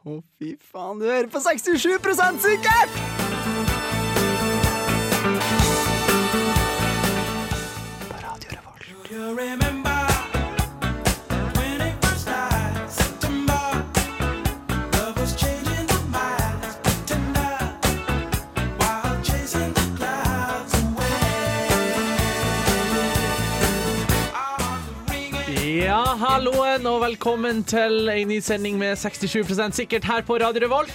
Å, fy faen, du hører på 67 sikkert! På Radio Revolt. Ja, halloen og velkommen til en ny sending med 67 sikkert her på Radio Revolt.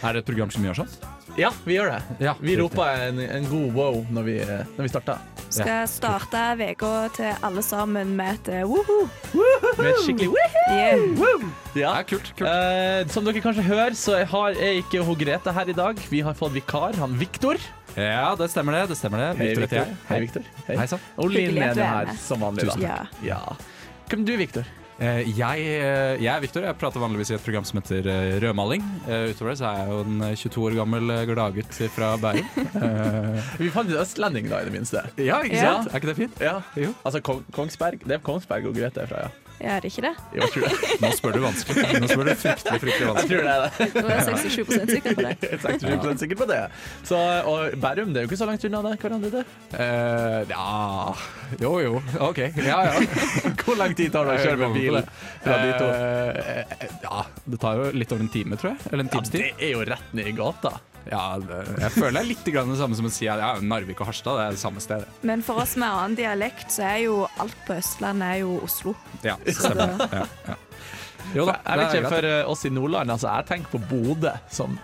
Er det et program som gjør sånn? Ja, vi gjør det. Ja. Vi ropa en, en god wow når vi, eh, når vi starta. Skal starte uka til alle sammen med et eh, woho. Med et skikkelig woohoo! Yeah. Ja. Ja, kult, kult. Eh, som dere kanskje hører, så jeg har jeg ikke hun Grete her i dag. Vi har fått vikar, han Viktor. Ja, det stemmer det. det stemmer det. Victor heter jeg. Hei, Viktor. Hei. Hei sann. Og Linn Hyggelig er at du det er her, med. som vanlig. Tusen da. takk. Ja. Hvem er du, Viktor? Eh, Jeg, eh, jeg er Victor. Jeg prater vanligvis i et program som heter eh, Rødmaling. Eh, Utover det så er jeg jo en eh, 22 år gammel eh, gladgutt fra Bærum. Eh, Vi fant en østlending, da, i det minste. Ja, ikke Ja. sant? Er ikke det fint? Ja. Jo. Altså Kong Kongsberg. Det er Kongsberg og Grete er fra, ja. Ja, er det ikke det? Jo, jeg tror det. Nå spør du vanskelig. Nå spør du fryktelig, fryktelig Jeg tror vanskelig. det er det. Nå er jeg 67 sikker på det. Jeg er 67 sikker på det. Så, og Bærum det er jo ikke så langt unna det, hverandre. det. Eh, ja Jo, jo. OK. Ja, ja. Hvor lang tid tar det å kjøre med bil fra de to? Eh, eh, Ja, det tar jo litt over en time, tror jeg. Eller en Ja, times tid. det er jo rett ned i gata. Ja, det, jeg føler det er litt grann det samme som å si at ja, Narvik og Harstad det er det samme stedet. Men for oss med annen dialekt, så er jo alt på Østlandet er jo Oslo. Ja, stemmer. Ja, ja. Jo Jeg vet da, det er ikke, greit. for eh, oss i Nordland, altså jeg tenker på Bodø som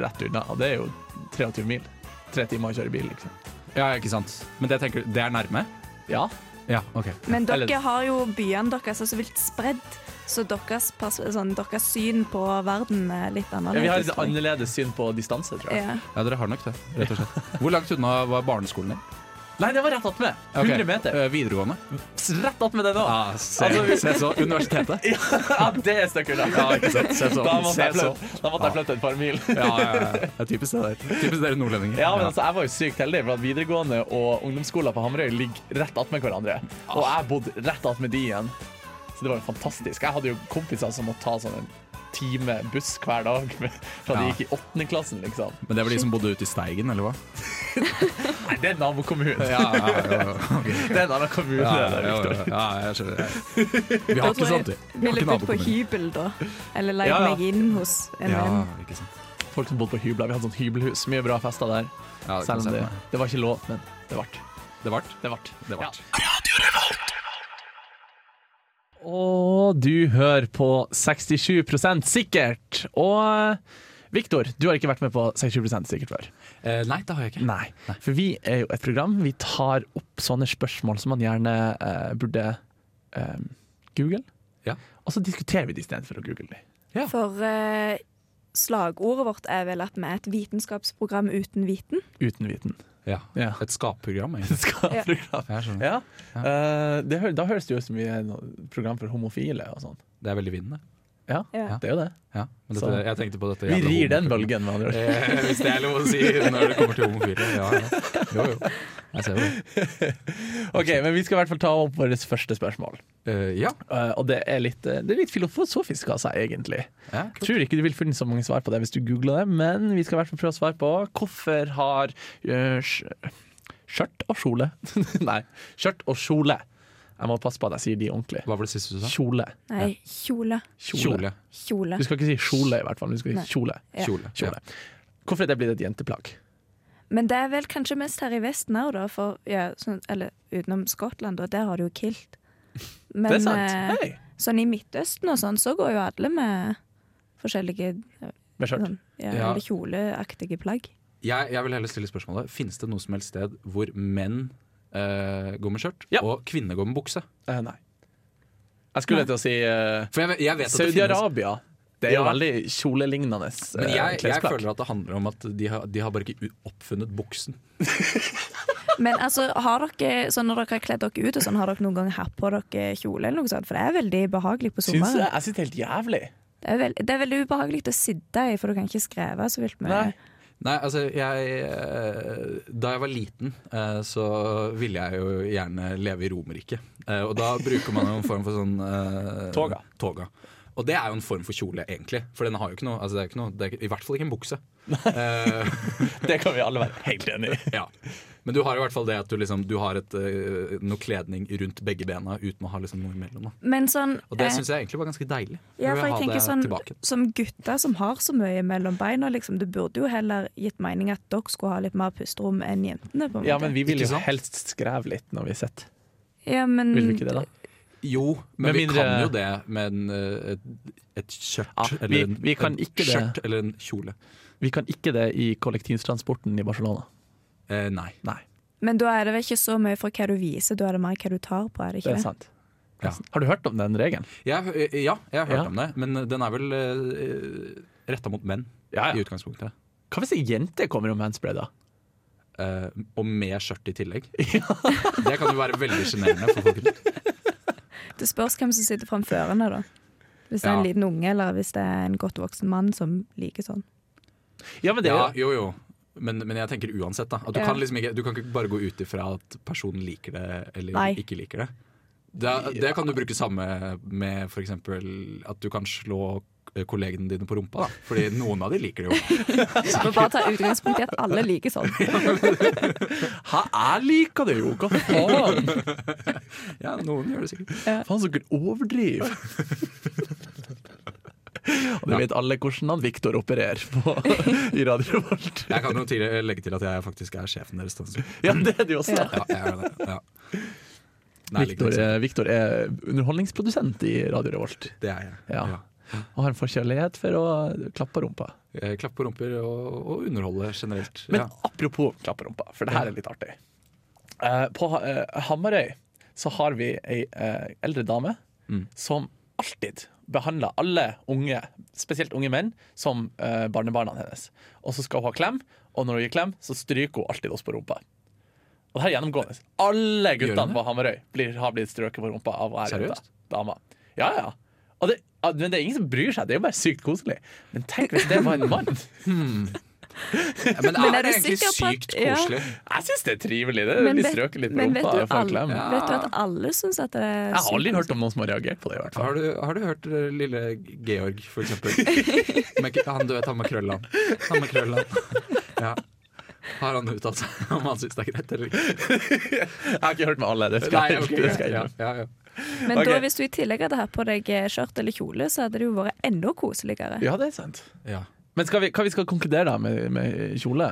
rett unna, og det er jo 23 mil. Tre timer å kjøre bil, liksom. Ja, ikke sant. Men det tenker du, det er nærme? Ja. Ja, ok. Men dere Eller- har jo byene deres er så vilt spredd, så deres, pers- sånn, deres syn på verden er litt ja. annerledes. Vi har et tror jeg. annerledes syn på distanse, tror jeg. Ja. Ja, dere har nok det, rett og slett. Hvor langt unna var barneskolen din? Nei, det var rett attmed. Ok, 100 meter. eh, videregående? Rett attmed det nå. Ja, Ah, se, Altså, vi- se så. Universitetet? Ja, det er et stykke unna. Ja, ikke sant. Se så. Da måtte jeg Se så. flytte- da måtte jeg flytte et par mil. Ja, ja, ja. Det er typisk dere. Typisk dere nordlendinger. Ja, men altså, Jeg var jo sykt heldig, for at videregående og ungdomsskolen på Hamarøy ligger rett attmed hverandre. Og jeg bodde rett attmed de igjen. Så det var jo fantastisk. Jeg hadde jo kompiser som måtte ta sånn en time buss hver dag med- fra de Ja. gikk i åttende klassen, liksom. Men det var de som bodde ute i Steigen, eller hva? Nei, det er nabokommunen. Ja, ja, ja, ja. ok. Det er en annen kommune. Ja, det ja, er ja, Victor. ja, jeg skjønner det. Vi Da har ikke sånn tror jeg sånt. Vi har Ville ikke bodd på nabokommuner. hybel, da. Eller leid Ja, ja. meg inn hos en Ja, venn. ikke sant. Folk som bodde på hybler. Vi hadde sånn hybelhus. Mye bra fester der. Ja, det kan Selv om jeg det, se for meg. det var ikke lov, men det ble. Det vart. Det ble. Det vart. Og du hører på 67 sikkert. Og Viktor, du har ikke vært med på 67 sikkert før. Eh, nei, det har jeg ikke. Nei, for vi er jo et program. Vi tar opp sånne spørsmål som man gjerne eh, burde eh, google. Ja. Og så diskuterer vi det istedenfor å google det. For eh, slagordet vårt er vel at vi er et vitenskapsprogram uten viten. Uten viten. Ja. Ja. Et skapprogram, egentlig. sånn. Skal Ja. program. Jeg skjønner. Ja. Eh, det hø da høres det jo ut som vi er et program for homofile og sånn. Det er veldig vinnende. Ja, Ja. det er jo det. Ja, men dette, Så- jeg tenkte på dette Sånn. Vi jævla rir den homofile. bølgen, med andre ord. Eh, hvis det er lov å si når det kommer til homofile. Ja, ja. Jo, jo. Jeg ser det. Ok, Men vi skal i hvert fall ta opp vårt første spørsmål. Eh, ja. Eh, og det er litt, eh, det er litt filosofisk av seg, egentlig. ja Jeg kult. tror ikke du vil finne så mange svar på det hvis du googler det, men vi skal i hvert fall prøve å svare på hvorfor har eh, skj- skjørt og kjole Nei, skjørt og kjole. Jeg må passe på at jeg sier de ordentlig. Hva var det siste du sa? Kjole. Nei, kjole. Kjole. Kjole. Du skal ikke si kjole, i hvert fall. men Du skal Nei. si kjole. Ja. Kjole. Ja. kjole. Hvorfor er det blitt et jenteplagg? Men det er vel kanskje mest her i Vesten òg, da. For, ja, sånn, eller utenom Skottland, og der har det jo kilt. Men det er sant. eh, Hei! sånn i Midtøsten og sånn, så går jo alle med forskjellige Med skjørt. sånn, ja, Ja. eller kjoleaktige plagg. Jeg, jeg vil heller stille spørsmålet Finnes det noe som helst sted hvor menn eh, går med skjørt Ja. og kvinner går med bukse? Eh, nei. Jeg skulle til å si eh, For jeg, jeg vet at det finnes Saudi-Arabia. Det er jo Ja. veldig kjolelignende eh, men jeg, jeg klesplagg. føler at det handler om at de har, de har bare ikke u- oppfunnet buksen. Men altså, har dere, sånn når dere har kledd dere ut, og sånn, har dere noen gang hatt på dere kjole eller noe sånt? For det er veldig behagelig på Syns jeg, sommeren. jeg sitter helt jævlig. Det er, veld, det er veldig ubehagelig å sitte i, for du kan ikke skreve så vilt mye. Nei. Nei, altså jeg, eh, Da jeg var liten, eh, så ville jeg jo gjerne leve i Romerriket. Eh, Og da bruker man jo en form for sånn eh, Toga. toga. Og det er jo en form for kjole, egentlig. For den har jo ikke noe, altså det er jo ikke noe det er, I hvert fall ikke en bukse. Eh, Det kan vi alle være helt enig i. ja. Men du har i hvert fall det at du, liksom, du har et, eh, noe kledning rundt begge bena uten å ha liksom noe imellom. Da. Men sånn Og det eh, syns jeg egentlig var ganske deilig. Ja, vil for jeg ha tenker det sånn, tilbake. Som gutter som har så mye mellom beina, liksom, det burde jo heller gitt mening at dere skulle ha litt mer pusterom enn jentene. på en måte. Ja, men vi vil Ikke jo sant? helst skreve litt når vi sitter. Ja, men- Vil vi ikke det, da? Jo, men Med vi mindre- kan jo det med en, eh, et, et skjørt Ja, vi- eller, en- vi kan en ikke det. skjørt eller en kjole. Vi kan ikke det i kollektivtransporten i Barcelona. Eh, nei. Nei, Men da er det vel ikke så mye for hva du viser, da er det mer hva du tar på, er det det ikke er det? sant. Har du hørt om den regelen? Jeg, eh, ja, jeg har hørt Ja. om det, men eh, den er vel uh, retta mot menn Ja, ja. i utgangspunktet. Hva hvis ei jente kommer om handspray, da? Eh, og med skjørt i tillegg. det kan jo være veldig sjenerende for folk. Det spørs hvem som sitter foran førerne, da. Hvis det er en Ja. liten unge, eller hvis det er en godt voksen mann som liker sånn. Ja, men det Ja, er jo, jo. Men, men jeg tenker uansett, da. At du, Ja. kan liksom ikke, du kan ikke bare gå ut ifra at personen liker det eller Nei. ikke liker det. Det, det kan du bruke samme med f.eks. at du kan slå eh, kollegene dine på rumpa. Da. Fordi noen av de liker det jo. Men bare ta utgangspunkt i at alle liker sånn. Hæ, jeg liker det jo! Hva faen? Ja, noen gjør det sikkert. Faen, så gud overdriv! Og det vet alle hvordan han Viktor opererer på, i Radio Volt. Jeg kan jo til, legge til at jeg faktisk er sjefen deres. da. Ja, det er det jo også. Ja. Ja, jeg er det. Ja. Nei, jeg liker Viktor det ikke. er, Victor er underholdningsprodusent i Radio Revolt Det er jeg. Ja. Ja. og har en forkjærlighet for å klappe rumpa. Eh, Klapp på rumper og, og underholde generelt. Men ja. Mm. apropos klapperumpa, for det her er litt artig. Eh, på eh, Hamarøy så har vi ei eh, eldre dame Mm. som alltid behandler alle unge, spesielt unge menn, som eh, barnebarna hennes. Og så skal hun ha klem, og når hun gir klem, så stryker hun alltid oss på rumpa. Og det her er gjennomgående. Alle Gjør hun guttene det? på Hamarøy blir, har blitt strøket på rumpa av hver Seriøst? jenta. Dama. Ja, ja. Og det, ja, men det er ingen som bryr seg, det er jo bare sykt koselig. Men tenk hvis det var en mann! Men er, Men er det du egentlig sikker på at- sykt ja. koselig? Jeg syns det er trivelig. Det er Men litt vet- strøket litt på men vet rumpa. du Jeg, får en alle- klem. Vet du at alle syns at det er jeg har aldri sykt? hørt om noen som har reagert på det. i hvert fall Har du, har du hørt eh, lille Georg, for eksempel? Med, k- han du vet, han med krøllene. Han med krøllene. Ja. Har han uttalt seg om han syns det er greit eller ikke? Jeg har ikke hørt med alle. Det skal jeg ok, det skal jeg ja, innrømme. ja, ja. Men da, Ok. hvis du i tillegg hadde hatt på deg eh, skjørt eller kjole, så hadde det jo vært enda koseligere. Ja, det er sant. ja. Men skal vi, hva vi skal konkludere da med, med kjole?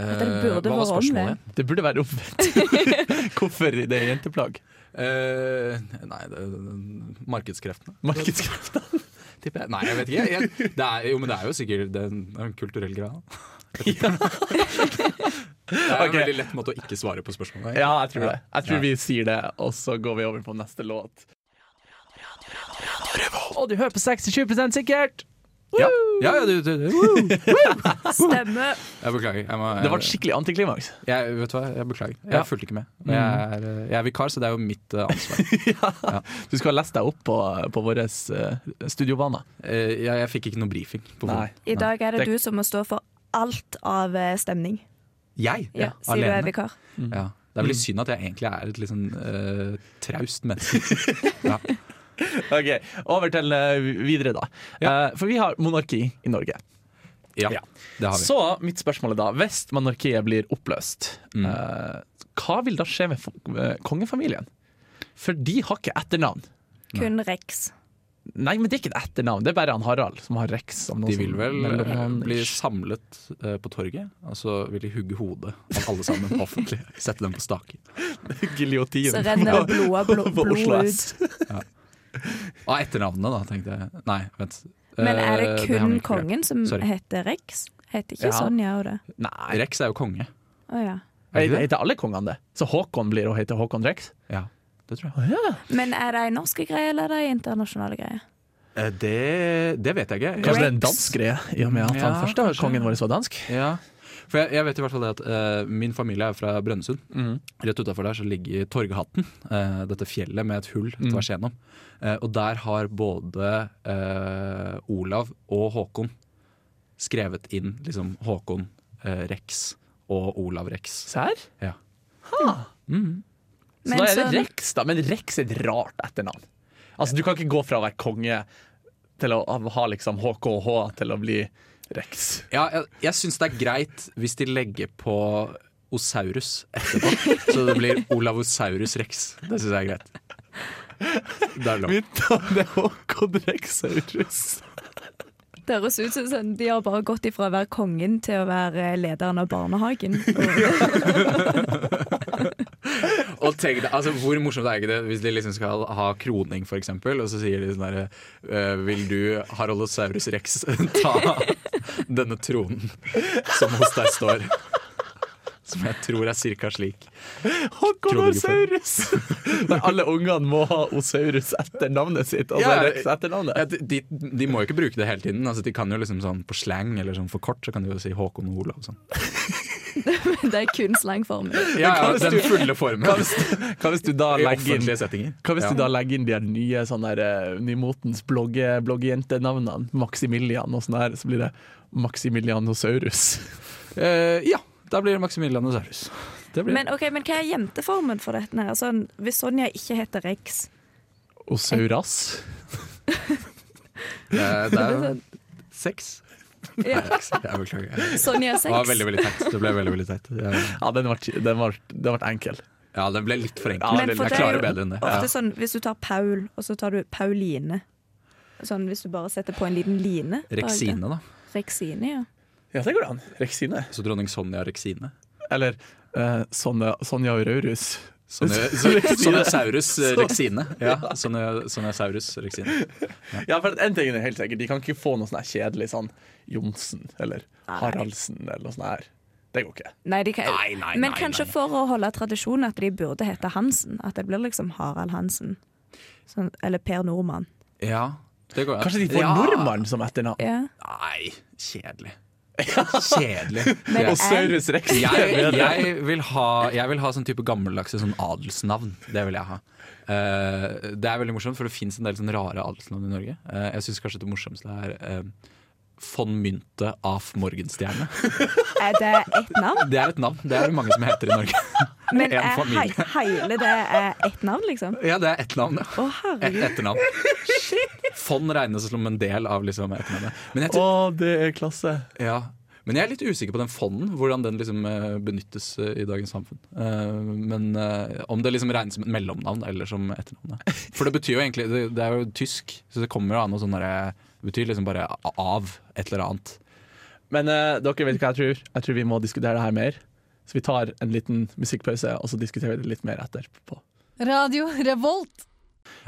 det Eh, hva var burde være om spørsmålet det. igjen? Det burde være omvendt. Hvorfor det er jenteplagg? Eh, nei, det, det- markedskreftene. Markedskrefter. Tipper jeg. Nei, jeg vet ikke. Jeg, det er, jo, men det er jo sikkert det er en, det er en kulturell greie. da. Det er en Ok. veldig lett måte å ikke svare på spørsmålet. Ja, jeg tror det. Jeg Ja. tror vi sier det, og så går vi over på neste låt. Og du hører på 67 sikkert! Ja, ja, ja du, du, du. woo! Stemme! Jeg beklager. Jeg må, Det var et skikkelig antiklimaks. Jeg, vet du hva, jeg beklager. Jeg Ja. Mm. fulgte ikke med. Og Jeg er, eh, jeg er vikar, så det er jo mitt eh, ansvar. Du skal ha lest deg opp på, på våre studiobaner. Eh, jeg, jeg fikk ikke noe brifing. På forhånd. I dag er det Det- du som må stå for alt av eh, stemning. Jeg? Ja, Sier du er alene? vikar. Ja. Det er veldig synd at jeg egentlig er et litt sånn eh, traust menneske. ja. Ok, Over til eh, videre, da. Eh, for vi har monarki i Norge. Ja, Ja. det har vi. Så mitt spørsmål er da, hvis monarkiet blir oppløst, Mm. eh, hva vil da skje med fo- med kongefamilien? For de har ikke etternavn. Kun Rex. Nei, men det er ikke et etternavn, det er bare han Harald som har Rex. Som noe De vil sånn vel eh, mellomnavn. bli samlet eh, på torget, og så vil de hugge hodet av alle sammen offentlig. Sette dem på staker. Giljotin. Så renner det blod, av blod, på Oslo blod ut. S. Av etternavnet, da, tenkte jeg. Nei, vent. Men Eh, har er det vi kun ikke greit. kongen som Sorry. heter Rex? Heter ikke Ja. Sonja og det? Nei, Rex er jo konge. Å ja. Er det ikke det? heter alle kongene det? Så Håkon blir å hete Håkon Rex? Ja, det tror jeg. Men er det en norsk greie, eller er det en internasjonal greie? Eh, Det, det vet jeg ikke. Kanskje det er en Rex. dansk greie, i og med at han Ja, første kanskje. kongen vår var dansk? Ja, for jeg, jeg vet i hvert fall det at eh, min familie er fra Brønnøysund. Rett utafor der så ligger Torghatten, eh, dette fjellet med et hull tvers igjennom. Eh, og der har både eh, Olav og Håkon skrevet inn liksom Håkon eh, Rex og Olav Rex. Serr? Ja. Så Men da er det sånn- Rex, da. Men Rex er et rart etternavn. Altså, du kan ikke gå fra å være konge til å ha liksom HKH til å bli Rex. Ja, jeg, jeg syns det er greit hvis de legger på Osaurus etterpå. Så det blir Olavosaurus rex. Det syns jeg er greit. Det er lov. Mitt navn er Håkon Rexaurus. Det høres ut som sånn, de har bare gått ifra å være kongen til å være eh, lederen av barnehagen. Og- Og tenk deg, altså Hvor morsomt er ikke det hvis de liksom skal ha kroning, for eksempel og så sier de sånn herre Vil du, Haraldosaurus rex, ta denne tronen som hos deg står? Som jeg tror er cirka slik. Håkonosaurus! Men alle ungene må ha Osaurus etter navnet sitt. Altså Ja, Rex etter Ja, navnet. de, de, de må jo ikke bruke det hele tiden. Altså, de kan jo liksom sånn På slang eller sånn for kort så kan de jo si Håkon og Olav. og Sånn. det er kun slangformen. Ja, ja, hvis den du- fulle formen. Hva hvis, hva hvis du da I legger inn offentlige settinger. hva hvis du ja. da legger inn de her nye sånne her, eh, nymotens blogge- bloggejentenavnene? Maximilian og sånn her, så blir det Maximilianosaurus. Eh, ja, da blir det Maximilian og Saurus. Det blir Men, ok, men hva er jenteformen for dette? her? Sånn, hvis Sonja ikke heter Rex Osauras. det, er- det er sex. ja. Jeg beklager. Det Sonja er var sex. veldig, veldig teit. Det ble veldig, veldig teit. Jeg- Ja, den ble, den var- den ble enkel. Ja, den ble litt for enkel. Ja, Men for jeg det er klarer jo bedre enn det. Ofte sånn, hvis du tar Paul, og så tar du Pauline. Sånn, hvis du bare setter på en liten line. bak det. Rexine, da. Rexine, ja. Ja, det går an. Rexine. Så dronning Sonja Rexine. Eller eh, Sonja, Sonja Aurorus. Sonja, Sonja Saurus eh, Rexine. Ja, Sonja, Sonja Saurus Rexine. Ja, for en ting er helt sikkert De kan ikke få noe sånn her kjedelig sånn Jonsen eller Nei. Haraldsen eller noe sånt her Det går ikke Nei, de kan, Nei, nei, men nei, kanskje nei. for å holde tradisjonen at de burde hete Hansen. At det blir liksom Harald Hansen. Sånn, eller Per Nordmann. Ja, det går an. Kanskje de får ja. nordmann som etternavn Ja. Nei, kjedelig. Kjedelig. Men Og jeg, Saurus Rex Jeg, jeg, vil ha, jeg vil ha sånn type gammeldagse sånn adelsnavn. Det vil jeg ha. Eh, det er veldig morsomt, for det fins en del sånn rare adelsnavn i Norge. Eh, jeg syns kanskje det morsomste er eh, von Mynte af Morgenstjerne. er det ett navn? Det er et navn. Det er det mange som heter i Norge. Men En er familie. hei- hele det er ett navn, liksom? Ja, det er ett navn, ja. Å, Et herregud. etternavn. Von regnes som en del av liksom, etternavnet. Men jeg, Å, det er klasse tror- ja. Men jeg er litt usikker på den fonden, hvordan den liksom eh, benyttes eh, i dagens samfunn. Eh, Men eh, om det liksom regnes som et mellomnavn eller som etternavn. ja. For det betyr jo egentlig Det, det er jo tysk, så det kommer jo an noe sånn derre Det betyr liksom bare a- av et eller annet. Men eh, dere vet hva jeg tror Jeg tror vi må diskutere det her mer Så vi tar en liten musikkpause Og så diskuterer vi det litt mer etterpå Radio Revolt.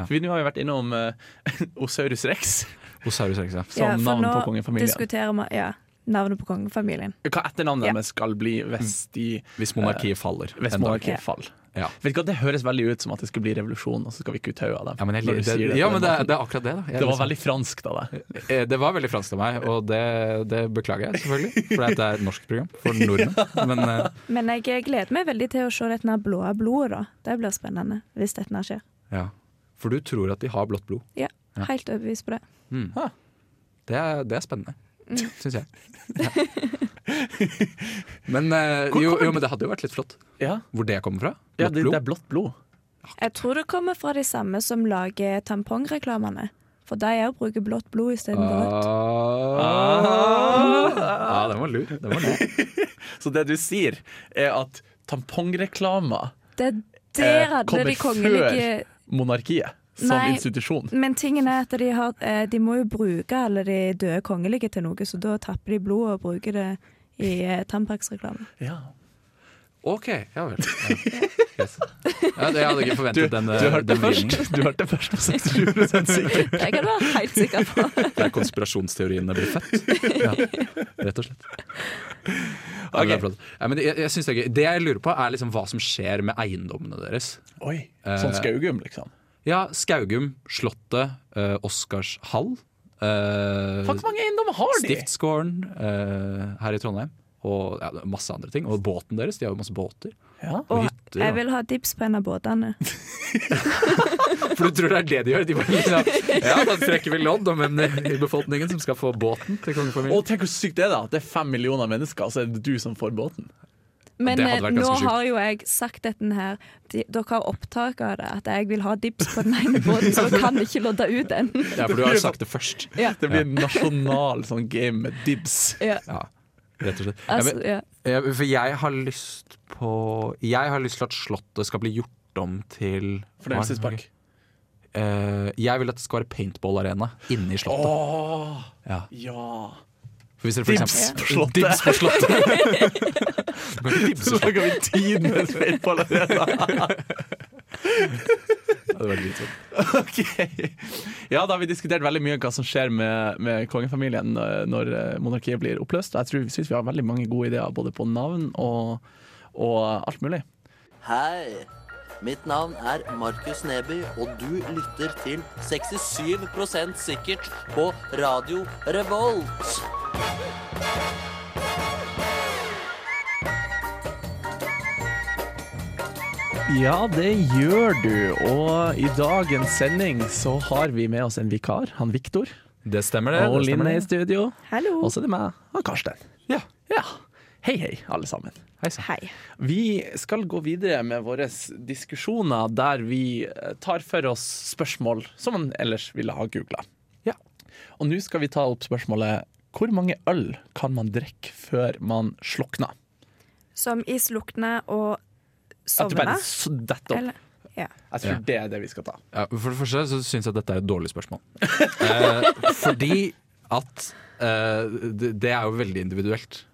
Vi nå har jo vært innom eh, Osaurus Rex Osaurus rex, ja. som navn på kongefamilien. diskuterer vi ja, navnet på kongefamilien. Hva etternavnet Ja. deres skal bli hvis de Hvis monarkiet faller. Hvis en dag. monarkiet Ja. faller Mm. Ja. Vet du hva, det høres veldig ut som at det skal bli revolusjon Og så skal vi kutte høy av dem Ja, men, jeg, når du det, sier det på ja, den men det, er- måten. det er akkurat det. da Jeg Det var liksom- veldig franskt av deg. Eh, Det var veldig fransk av meg, og det, det beklager jeg selvfølgelig. For det er et norsk program for nordmenn. Men eh, Men jeg gleder meg veldig til å se dette her blå blodet, da. Det blir spennende, hvis dette her skjer. ja. For du tror at de har blått blod. Ja, helt overbevist på det. Det er, det er spennende, syns jeg. Ja. Men eh, jo, jo, men det hadde jo vært litt flott. Ja, Hvor det kommer fra? ja Blått det, det blod? er blått blod. Jeg tror det kommer fra de samme som lager tampongreklamene. For de òg bruker blått blod istedenfor rødt. Ah. Ja, den var lur. Den var lur. Så det du sier, er at tampongreklamer Det er eh, der hadde kommer de kongelige før monarkiet som Nei. institusjon. Men tingen er at de, har, eh, de må jo bruke alle de døde kongelige til noe, så da tapper de blodet og bruker det i eh, Tampax-reklame. Ja. OK, ja vel. Ja. Yes. Ja, det jeg hadde ikke Du, forventet den, eh, du hørte den først. vridningen. Du hørte først på 67 sikker. Det kan du være helt sikker på. Det er konspirasjonsteoriene blir født. Ja, rett og slett. Ja, det er Ok. flott. Ja, men jeg, jeg synes det, er gøy. det jeg lurer på, er liksom hva som skjer med eiendommene deres. Oi, Eh, sånn Skaugum, liksom. Ja, Skaugum, Slottet, eh, Oscars hall, eh, Hvor mange eiendommer har de? Stiftsgården eh, her i Trondheim, og ja, det er masse andre ting. Og båten deres, de har jo masse båter. Ja. Og Og hytter. jeg og- vil ha dips på en av båtene. For du tror det er det de gjør? De bare liksom, ja, da trekker vi lodd om hvem i befolkningen som skal få båten til kongefamilien. Og tenk hvor sykt det er, da. Det er fem millioner mennesker, og så er det du som får båten. Men Det hadde eh, vært nå ganske sjukt. har jo jeg sagt dette her de, Dere har opptak av det, at jeg vil ha dips på den ene båten, så kan vi ikke lodde ut den. Ja, for du har jo sagt det først. Ja. Det blir en nasjonal sånn game med dibs. Ja. Ja, rett og slett. Ja, Altså, men, ja. ja, for jeg har lyst på Jeg har lyst til at Slottet skal bli gjort om til Fornøyelsespark. Eh, jeg vil at det skal være paintball-arena inne i Slottet. Åh, Ja. ja. For hvis dere for Dibs eksempel- på slottet. Dibs på Slottet. Du kan ikke dibse Så lager vi tidenes feilballarena. Ja, det var dritfett. Ok. Ja, da har vi diskutert veldig mye om hva som skjer med, med kongefamilien eh, når eh, monarkiet blir oppløst. Og jeg tror synes vi har veldig mange gode ideer både på navn og, og alt mulig. Hei! Mitt navn er Markus Neby, og du lytter til 67 sikkert på Radio Revolt. Ja, det gjør du. Og i dagens sending så har vi med oss en vikar, han Viktor. Det stemmer, det. Og det Linn stemmer er i det. studio. Hallo. Og så er det meg, han Karsten. Ja. Ja. Hei, hei, alle sammen. Hei sann. Hei. Vi skal gå videre med våre diskusjoner der vi eh, tar for oss spørsmål som man ellers ville ha googla. Ja. Og nå skal vi ta opp spørsmålet hvor mange øl kan man drikke før man slukner? Som i slukne og At du bare sovne. s- detter opp. Eller- Ja. Jeg tror Ja. det er det vi skal ta. Ja, for det første så syns jeg dette er et dårlig spørsmål. Eh, fordi at eh, det, det er jo veldig individuelt.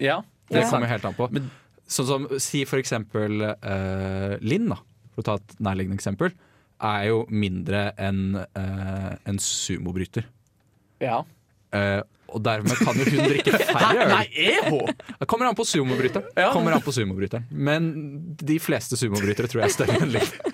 Ja, Det Ja. kommer helt an på. Men- sånn som si for eksempel eh, Linn, da, for å ta et nærliggende eksempel, er jo mindre enn eh, en sumobryter. Ja. Eh, og dermed kan jo hun drikke færre øl. Nei, er hun?! Det kommer an på sumobryteren. Ja. Kommer an på sumobryteren. Men de fleste sumobrytere tror jeg er større enn Liv.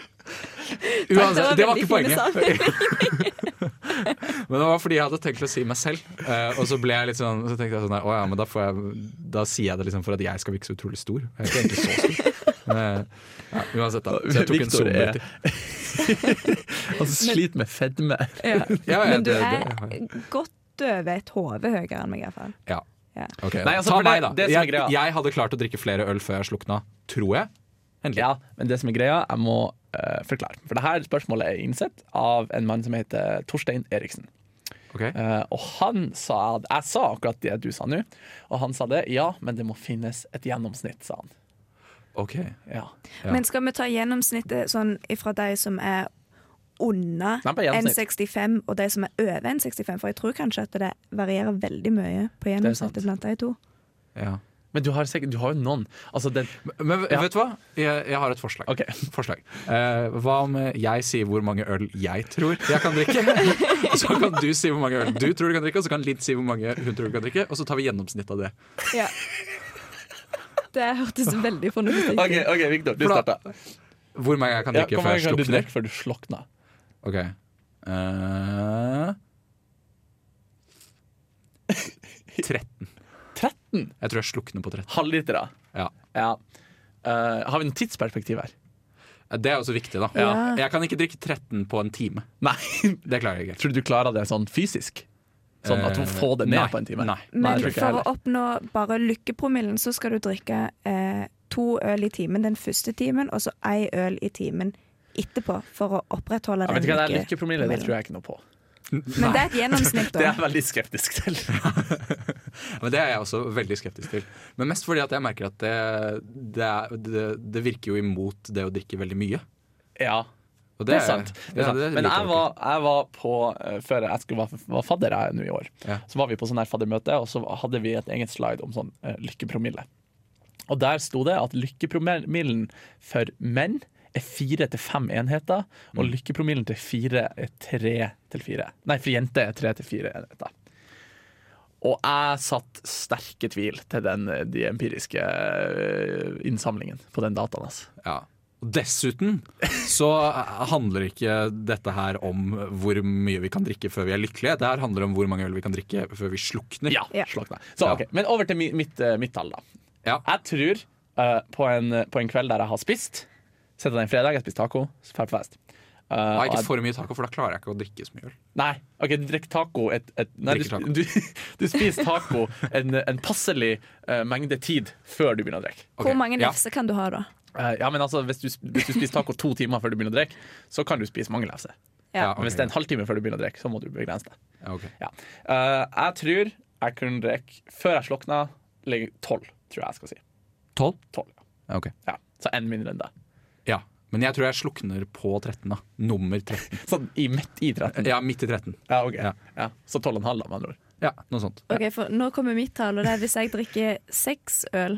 Uansett, det var ikke poenget. Men det var fordi jeg hadde tenkt å si meg selv. eh, og så ble jeg litt sånn Så tenkte jeg sånn Å ja, men da, får jeg, da sier jeg det liksom for at jeg skal virke så utrolig stor. Jeg er ikke egentlig så stor. Men, eh, ja, uansett, da. Så jeg tok en Victor er- sumobryter. Altså, sliter med fedme. Ja, ja, Men du det- det- er godt over et hode høyere enn meg, iallfall. Ja. Ja. Ok, Nei, altså, Ta for det- meg, da. det som er jeg, greia. jeg hadde klart å drikke flere øl før jeg slukna, tror jeg. Endelig. Ja, men det som er greia, jeg må eh, forklare. For det her spørsmålet er innsett av en mann som heter Torstein Eriksen. Ok. Eh, og han sa Jeg sa akkurat det du sa nå, og han sa det. Ja, men det må finnes et gjennomsnitt, sa han. Ok. Ja. Ja. Men skal vi ta gjennomsnittet sånn ifra de som er under Nei, bare gjennomsnitt. 1,65 og de som er over 1,65? For jeg tror kanskje at det varierer veldig mye på er sant. gjennomsnittet blant de to. Ja. Men du har sikkert Du har jo noen. Altså, den Men Ja. vet du hva? Jeg, jeg har et forslag. OK. forslag. Eh, hva om jeg sier hvor mange øl jeg tror jeg kan drikke? Og så kan du si hvor mange øl du tror du kan drikke, og så kan Linn si hvor mange hun tror du kan drikke. Og så tar vi gjennomsnitt av det. Ja. Det hørtes veldig fornuftig ut. OK, ok, Victor, du For da- starter. Hvor mange jeg kan Ja, drikke Hvor før mange jeg kan du slukner. drikke før du slokner? Ok Eh, 13. 13 Jeg tror jeg slukner på 13. halvlitere. Ja. Ja. Eh, har vi noe tidsperspektiv her? Det er også viktig, da. Ja. Jeg kan ikke drikke 13 på en time. Nei. Det klarer jeg ikke. Tror du du klarer det sånn fysisk? Sånn at hun Eh, får det ned nei, på en time? Nei. Nei, Men jeg tror ikke jeg for å heller. oppnå bare lykkepromillen, så skal du drikke eh, to øl i timen den første timen, og så ei øl i timen etterpå, for å opprettholde Jeg vet den ikke hva det er lykkepromille, det tror jeg ikke noe på. Men det er et gjennomsnitt, Det er da. jeg veldig skeptisk til. Men Det er jeg også veldig skeptisk til. Men mest fordi at jeg merker at det, det, er, det, det virker jo imot det å drikke veldig mye. Ja, Og det er sant. Det er sant. Men jeg var, jeg var på eh, Før jeg skulle være var fadder her nå i år, Ja. så var vi på sånn her faddermøte, og så hadde vi et eget slide om sånn eh, lykkepromille. Og der sto det at lykkepromillen for menn er fire til fem enheter, og lykkepromillen til fire er tre til fire. Nei, for jenter er tre til fire enheter. Og jeg satt sterke tvil til den, eh, de empiriske eh, innsamlingen på den dataen. Altså. ja. Og dessuten så handler ikke dette her om hvor mye vi kan drikke før vi er lykkelige. Det her handler om hvor mange øl vi kan drikke før vi slukner. Ja, Ja. slakna. Så, Ja. ok, Men over til mi- mitt, eh, mitt tall, da. Ja. Jeg tror eh, på, en, på en kveld der jeg har spist Sett deg en fredag, jeg spiser taco, så drar jeg på fest. Eh, Nei, og jeg- ikke for mye taco, for da klarer jeg ikke å drikke så mye øl. Nei, ok, drikk taco et, et, Nei, du, Drikke taco. du, du spiser taco en, en passelig eh, mengde tid før du begynner å drikke. Ok, Hvor mange ja. lefser kan du ha, da? Eh, ja, men altså, hvis du, hvis du spiser taco to timer før du begynner å drikke, så kan du spise mange lefser. Ja, Men Hvis det er en halvtime før du begynner å drikke, så må du begrense deg. ja, ok. Ja. Eh, jeg tror jeg kunne drikke før jeg slokna, ligger tolv, tror jeg jeg skal si. Tolv? Tolv, ja. Ja, ok. ja. Så en mindre enn deg. Ja. Men jeg tror jeg slukner på 13, da. Nummer 13. Sånn i midt i 13. Ja, midt i 13. Ja, ok. Ja. Ja. Så tolv og en halv, da, med andre ord. Ja, noe sånt. Ok, for Nå kommer mitt tall, og det er hvis jeg drikker seks øl,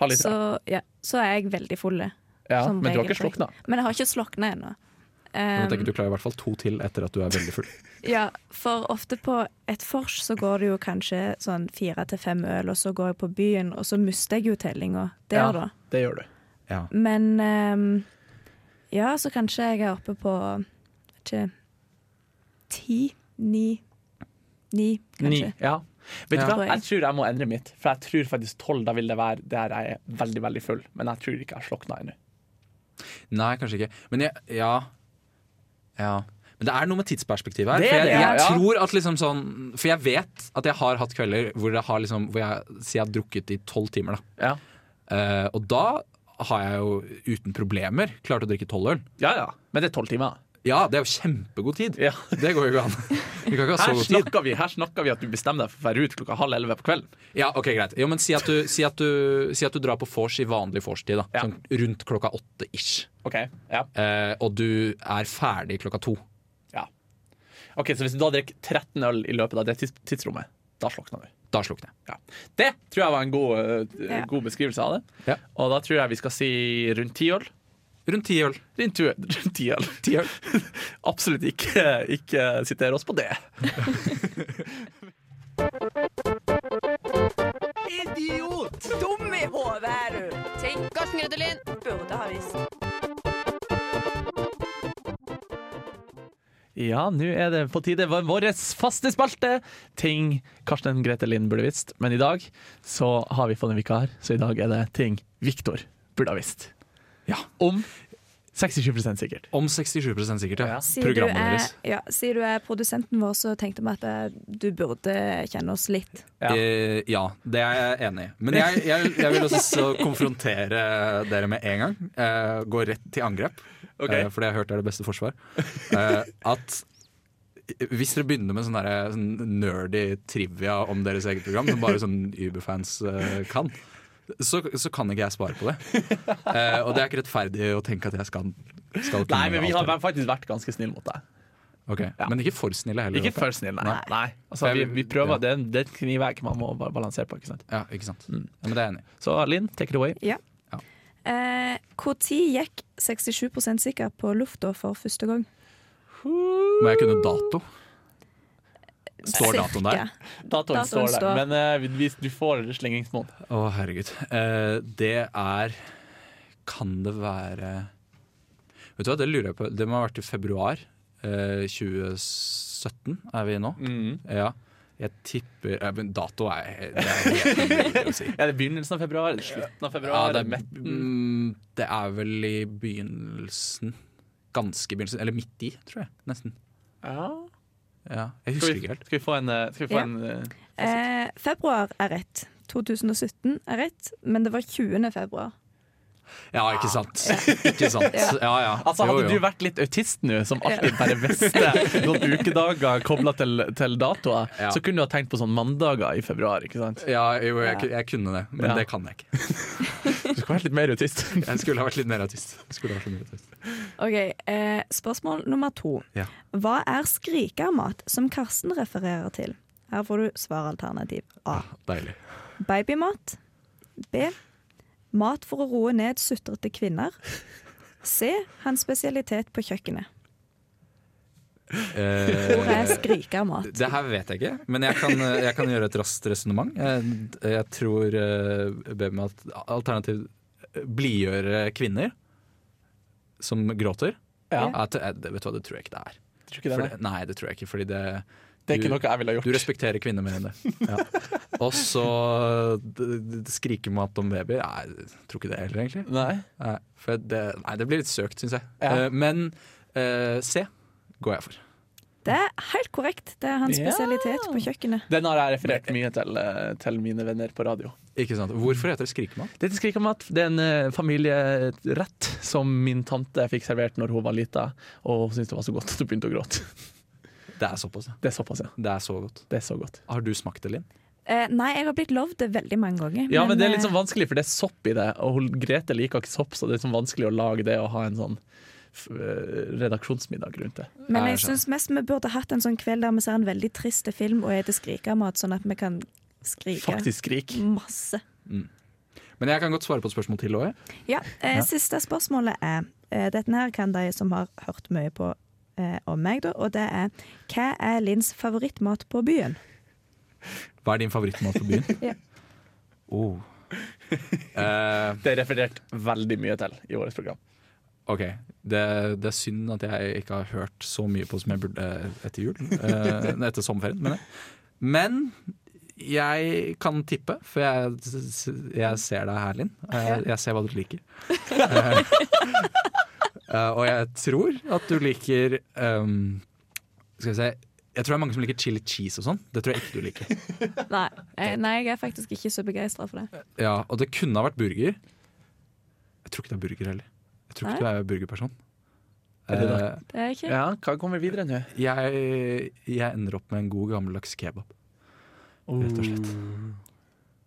Halv liter. så, sånn ja, så er jeg veldig full. ja. som Men du har ikke regel. slokna? Men jeg har ikke slokna ennå. Jeg må Um, tenke, du klarer i hvert fall to til etter at du er veldig full. Ja, for ofte på et vors så går det jo kanskje sånn fire til fem øl, og så går jeg på byen, og så mister jeg jo tellinga der, Ja, da. det gjør du. Ja. Men ehm, ja, så kanskje jeg er oppe på vet ikke ti, ni, ni, kanskje. Ni, ja. Vet du Tror hva? jeg. Jeg tror jeg må endre mitt, for jeg tror faktisk tolv da vil det være der jeg er veldig veldig full. Men jeg tror ikke jeg slokna ennå. Nei, kanskje ikke. Men jeg, ja. ja. Men det er noe med tidsperspektivet her. Det er for jeg, det, jeg ja. tror at liksom sånn For jeg vet at jeg har hatt kvelder hvor jeg har liksom Hvor jeg sier jeg har drukket i tolv timer, da. Ja. Eh, og da har jeg jo uten problemer klart å drikke tolv øl. ja ja, men det er tolv timer. Ja, det er jo kjempegod tid. Ja. Det går jo ikke an. Vi kan ikke ha så Her god tid. snakker, vi, her snakker vi at du bestemmer deg for å være ute klokka halv elleve på kvelden. Ja, ok, greit. Jo, men si at du, si at du, si at du drar på vors i vanlig vorstid, da. Ja. Sånn rundt klokka åtte ish. Ok, ja. Eh, og du er ferdig klokka to. ja. Ok, Så hvis du da drikker 13 øl i løpet av det tids tidsrommet, da slokna du? Da slukner jeg. Ja. Det tror jeg var en god, eh, Ja. god beskrivelse av det. Ja. Og da tror jeg vi skal si rundt ti øl. Rundt ti øl. Rundt tu- rundt ti øl. Ti øl. Absolutt ikke, ikke sitere oss på det. Idiot! Dum i hodet er du! Tenk Grydelin! Burde ha visst. Ja, nå er det på tide med vår faste spalte. Ting Karsten Grete Lind burde visst. Men i dag så har vi fått en vikar, så i dag er det ting Viktor burde ha visst. Ja. Om 67 sikkert. Om 67 sikkert, ja. Ja. Sier du, eh, Programmet er, deres. ja, sier du er produsenten vår, så tenkte vi at eh, du burde kjenne oss litt. Ja. Eh, ja, det er jeg enig i. Men jeg, jeg, jeg vil også så konfrontere dere med en gang. Eh, gå rett til angrep, Ok. eh, for det jeg har hørt er det beste forsvar. Eh, at eh, hvis dere begynner med sånn derre- sånn nerdy trivia om deres eget program, som bare sånn Uber-fans eh, kan, så, så kan ikke jeg svare på det. Eh, og det er ikke rettferdig å tenke at jeg skal, skal kunne Nei, men vi har alt det. faktisk vært ganske snille mot deg. Ok, Men ikke for snille heller. Ikke vet du. for snille, nei. nei. Altså, vi, Jeg vil- vi prøver, ja. det er en- det er en knivegg man må ba- balansere på. ikke sant? Ja, ikke sant. Mm. Ja, men det er jeg enig i. Så Linn, take it away. Ja. Ja. Eh, Hvor tid gikk 67 sikker på lufta for første gang? Må jeg kunne dato? Står Cirka. datoen der? Datoen, Datoen står der, står. men eh, vi- vi- du får slingringsmål. Å, herregud. Eh, det er Kan det være Vet du hva, det lurer jeg på. Det må ha vært i februar eh, 2017 er vi i nå. Mm. Ja. Jeg tipper eh, men Dato er Det er helt umulig å si. Er det begynnelsen av februar? Er det Slutten av februar? Ja, det, er det er, midten? mm, det er vel i begynnelsen. Ganske i begynnelsen. Eller midt i, tror jeg. Nesten. Ja. Ja, Skal jeg husker vi, ikke helt. skal vi få en, eh, skal vi få Ja. en eh, Eh, februar er rett. 2017 er rett, men det var 20. februar. Ja, ikke sant. Ikke sant. Ja, ja. Altså Hadde Jo, jo. du vært litt autist nå, som alltid bare visste noen ukedager kobla til, til datoer, Ja. så kunne du ha tenkt på sånn mandager i februar. ikke sant? ja, jo, jeg, ku- jeg kunne det, men Ja. det kan jeg ikke. Du skulle vært litt mer autist. Jeg skulle ha vært litt mer autist. Jeg Skulle ha vært litt mer autist. Ok, eh, Spørsmål nummer to. Ja. Hva er skrikermat, som Karsten refererer til? Her får du svaralternativ A. Ah, Deilig. Babymat. B. Mat for å roe ned sutrete kvinner. C. Hans spesialitet på kjøkkenet. Hvor er skrikermat? Eh, det her vet jeg ikke, men jeg kan, eh, jeg kan gjøre et raskt resonnement. Jeg, jeg tror eh, be meg at alternativ eh, blidgjøre kvinner som gråter. Ja. At, eh, det- vet du hva, det tror jeg ikke det er. Tror ikke det, For nei. det, nei, det tror jeg ikke, fordi det det er ikke du- noe jeg ville ha Du gjort. respekterer kvinner mer enn det. Ja. Og så d- d- skrikemat om babyer. Nei, jeg tror ikke det heller, egentlig. Nei. Nei, for det, nei, det blir litt søkt, syns jeg. Ja. Eh, men Eh, C går jeg for. Det er helt korrekt. Det er hans Ja. spesialitet på kjøkkenet. Den har jeg referert mye til, eh, til mine venner på radio. Ikke sant? Hvorfor heter det skrikemat? Dette skriker om at det er en eh, familierett som min tante fikk servert når hun var lita, og hun syntes det var så godt at hun begynte å gråte. Det er såpass, ja. Det er såpass, ja. Det er så godt. Det er så godt. Har du smakt det, Linn? Eh, nei, jeg har blitt lovd det veldig mange ganger. Ja, men, det er litt eh, sånn vanskelig, for det er sopp i det, og hun- Grete liker ikke sopp, så det er sånn vanskelig å lage det og ha en sånn f- eh, redaksjonsmiddag rundt det. Men Ja, jeg jeg skjønner. syns mest vi burde hatt en sånn kveld der vi ser en veldig trist film og spiser skrikemat, sånn at vi kan skrike Faktisk skrik. masse. Men jeg kan godt svare på et spørsmål til òg. Ja, eh, Siste spørsmålet er eh, Dette her kan de som har hørt mye på eh, om meg, da, og det er Hva er Lins favorittmat på byen? Hva er din favorittmat på byen? Ja. oh. Eh, Det er referert veldig mye til i årets program. Ok, det, det er synd at jeg ikke har hørt så mye på som jeg burde eh, etter jul. Eh, nei, etter sommerferien, mener jeg. Men jeg kan tippe, for jeg, s- s- jeg ser deg her, Linn. Eh, jeg ser hva du liker. Eh, eh, og jeg tror at du liker ehm, Skal vi se. Jeg tror det er mange som liker chili cheese og sånn. Det tror jeg ikke du liker. Nei, jeg, nei, jeg er faktisk ikke så begeistra for det. Ja, Og det kunne ha vært burger. Jeg tror ikke det er burger heller. Jeg tror ikke du er burgerperson. Er det da- Eh, Det er ikke Ja, hva kommer videre nå? jeg, jeg ender opp med en god gammeldags kebab. Rett og slett. Mm.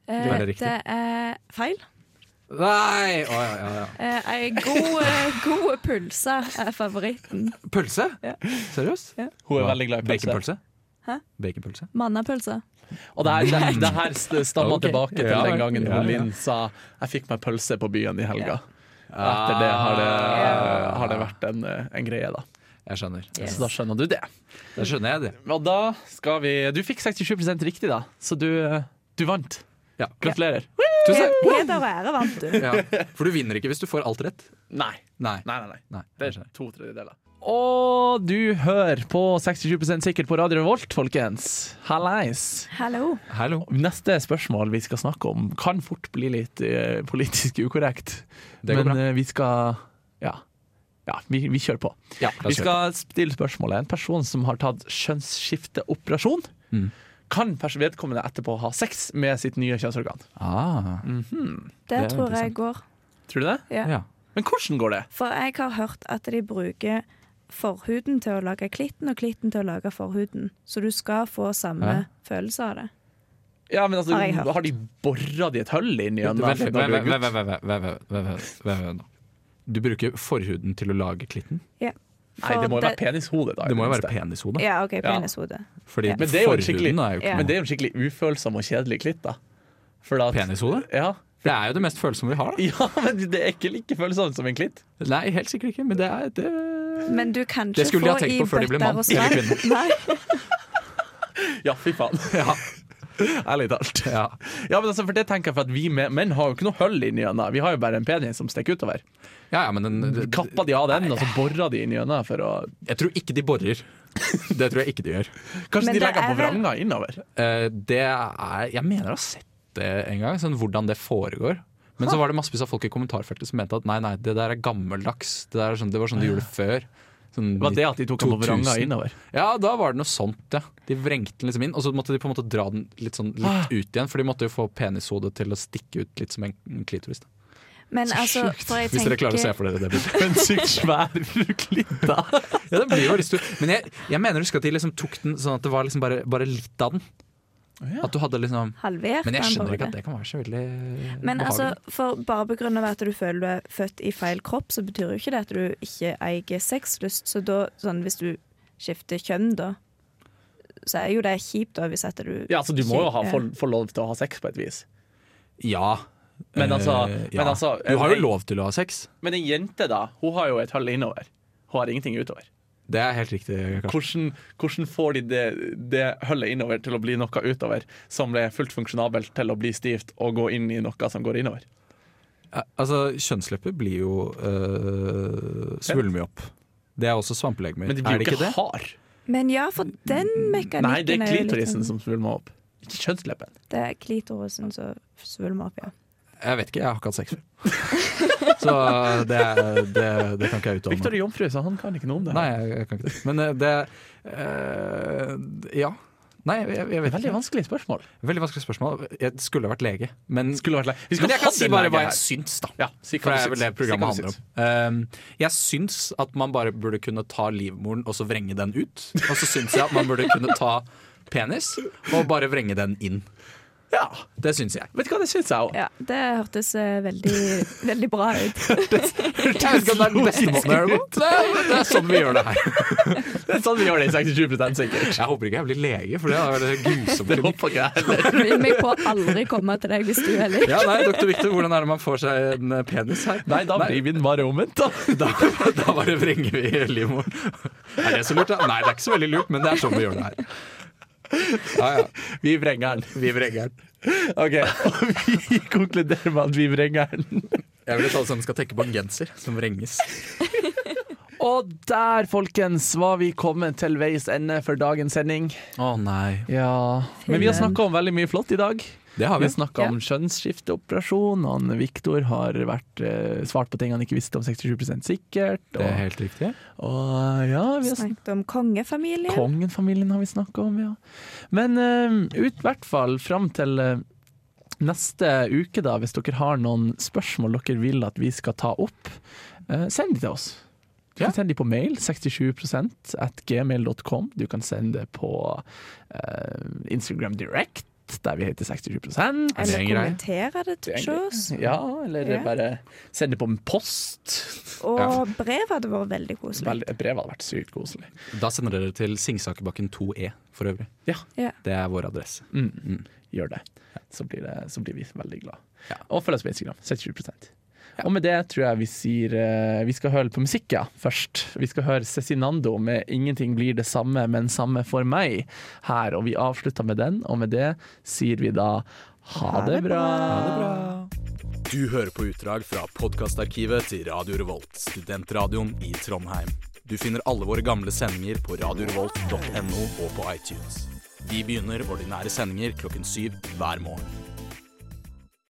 eh, er det riktig? det er feil. Nei! Å, ja, ja, ja. Eh, ei gode, gode pulser er favoritten. Pølse? Ja. Seriøst? Hun er veldig glad i pølse. Baconpølse? Hæ? Baconpølse? Mannapølse. Og det her, det, det her st- stammer Ok. tilbake til Ja, den gangen ja, hun ja. Linn sa 'jeg fikk meg pølse på byen i helga'. Etter det har det, har det vært en, eh, en greie, da. Jeg skjønner. Yes. Så da skjønner du det. Da skjønner jeg det. Og da skal vi Du fikk 67 riktig, da, så du, eh, du vant. Ja. Gratulerer. Tusen takk. Heder og ære vant du. Ja. For du vinner ikke hvis du får alt rett. Nei. Nei. Nei, nei, nei. Nei. Det er to tredjedeler. Og du hører på 67 sikkert på Radio Revolt, folkens. Hallais. Hallo. Hallo. Neste spørsmål vi skal snakke om, kan fort bli litt eh, politisk ukorrekt. Det går Men bra. eh, vi skal Ja. ja vi, vi kjører på. Ja, Vi skal stille spørsmålet. En person som har tatt kjønnsskifteoperasjon, Mm. kan pers- vedkommende etterpå ha sex med sitt nye kjønnsorgan? Ah. Det, er tror jeg interessant. går. Tror du det? Ja. Men hvordan går det? For jeg har hørt at de bruker forhuden til å lage klitten og klitten til å lage forhuden. Så du skal få samme Hæ? følelse av det. Ja, men altså, Har jeg hørt. har de bora de et hull inn i øynene? Vent, vent, når vent, du er vent, gutt? vent, vent, vent, vent, vent, vent, vent, vent. Du bruker forhuden til å lage klitten. Nei, det må jo For være penishode, da. i Det må jo minste. være penishode. Ja, OK, penishode. Fordi Ja. Men det er jo et skikkelig- forhuden er jo Ja. Men ikke noe det er jo en skikkelig ufølsom og kjedelig klitt, da. For at- penishode. Ja. Det er jo det mest følsomme vi har. da. ja, men det er ikke like følsomt som en klitt. Nei, helt sikkert ikke, men det er det Men du kan Det ikke skulle de få ha tenkt i på før de ble mann, bøtter og spann. eller Nei, Ja, fy faen. Ja. Ærlig talt. Ja. Ja, men altså, for det tenker jeg for at Vi me- menn har jo ikke noe hull inni øynene. Vi har jo bare en penis som stikker utover. ja, ja, men den, det- Kappa de av den, og så borer de inn i øynene for å jeg tror ikke de borer. Det tror jeg ikke de gjør. Kanskje Men de det legger på er vel- vranga innover? Eh, Det er Jeg mener jeg har sett det en gang, sånn hvordan det foregår. Men så var det massevis av folk i kommentarfeltet som mente at nei, nei, det der er gammeldags. Det, der er sånn, det var sånn de gjorde det før. Sånn, Var det at de tok den på vranga 2000? innover? Ja, da var det noe sånt, ja. De vrengte den liksom inn, og så måtte de på en måte dra den litt sånn Ah. litt ut igjen, for de måtte jo få penishodet til å stikke ut litt som en klitoris. da. men altså, for jeg Hvis dere klarer å se tenker for dere det bildet. En sykt svær klitt, da. Ja, det blir jo veldig stor. Men jeg, jeg mener husk at de liksom tok den sånn at det var liksom bare, bare litt av den. ja. At du hadde liksom Men jeg halvert den skjønner ikke bare. at det kan være så veldig Men altså, behagelig. for bare begrunnet at du føler du er født i feil kropp, så betyr jo ikke det at du ikke eier sexlyst. Så da, sånn hvis du skifter kjønn, da, så er jo det kjipt da, hvis at du Ja, altså, du må jo ha, Ja. få, få lov til å ha sex på et vis. Ja. Men altså- Eh, men altså- Du har jo lov til å ha sex. Men en jente, da, hun har jo et hull innover. Hun har ingenting utover. Det er helt riktig. Karsten. Hvordan, hvordan får de det, det hullet innover til å bli noe utover som er fullt funksjonabelt til å bli stivt og gå inn i noe som går innover? Eh, Altså, kjønnslepper blir jo uh, svulmet opp. Det er også svampelegemer. Men de Er blir det jo ikke ikke det? hard. Men ja, for den mekanikken Mm, Nei, det er jo litt klitorisen sånn- som svulmer opp. Ikke kjønnsleppen. Det er klitorisen som svulmer opp, ja. Jeg vet ikke, jeg har ikke hatt sex før. Så eh, det, det, det kan ikke jeg uttale Victor meg om. er jomfru, så han kan ikke noe om det. Nei, jeg, jeg kan ikke det. Men eh, det eh, Ja. Nei, jeg, jeg det er vet veldig ikke. vanskelig spørsmål. Veldig vanskelig spørsmål. Jeg skulle vært lege, men Skulle vært lei. Vi Men skulle jeg kan hatt si en bare lege hva her. jeg syns, da. Ja, si hva For du det er vel syns. det programmet Si hva handler du om. Um, jeg syns at man bare burde kunne ta livmoren og så vrenge den ut. Og så syns jeg at man burde kunne ta penis og bare vrenge den inn. Ja, Det syns jeg. Vet du hva, det syns jeg òg. Ja, det hørtes eh, veldig, veldig bra ut. Jeg vet ikke om det er den beste måten å gjøre det på. Det er- Det er sånn vi gjør det her. Det er sånn vi gjør det i 67 sikkert. Jeg håper ikke jeg blir lege, for det hadde vært grusomt. Det håper ikke jeg heller. Vil meg på å aldri komme til deg hvis du er litt Ja, nei, doktor Victor, hvordan er det man får seg en eh, penis her? Nei, da blir vi den bare omvendt, da. Da, da bare vrenger vi livmoren. Er det så lurt? da? Nei, det er ikke så veldig lurt, men det er sånn vi gjør det her. Ja, ja. Vi vrenger den. Vi vrenger den. Ok, Og vi konkluderer med at vi vrenger den. Jeg vil at alle sammen skal tenke på en genser som vrenges. Og der, folkens, var vi kommet til veis ende for dagens sending. Å nei. Ja, Men vi har snakka om veldig mye flott i dag. Det har Vi vi. har snakka om kjønnsskifteoperasjon. Han Viktor har vært, eh, svart på ting han ikke visste om 67 sikkert. Det er Og, helt riktig. og ja, vi har snakket snakket om kongefamilie. Kongenfamilien har vi snakka om, ja. Men eh, ut i hvert fall fram til eh, neste uke, da, hvis dere har noen spørsmål dere vil at vi skal ta opp, eh, send de til oss. Du kan Ja. sende de på mail, 67 at gmail.com. Du kan sende det på eh, Instagram Direct, der vi heter 67 det Eller en greie? kommentere det til oss. Ja, eller Ja. bare sende det på en post. Ja. Og brev hadde vært veldig koselig. Vel, Et brev hadde vært sykt koselig. Da sender dere til Singsakerbakken 2E for øvrig. Ja. Det er vår adresse. gjør det, så blir, det, så blir vi veldig glad. Ja. Og følg oss på Instagram. 67 Og med det tror jeg vi sier eh, Vi skal høre på musikk ja, først. Vi skal høre Cezinando med 'Ingenting blir det samme, men samme for meg' her. Og vi avslutter med den, og med det sier vi da ha det bra. Du hører på utdrag fra podkastarkivet til Radio Revolt, studentradioen i Trondheim. Du finner alle våre gamle sendinger på radiorevolt.no og på iTunes. Vi begynner ordinære sendinger klokken syv hver morgen.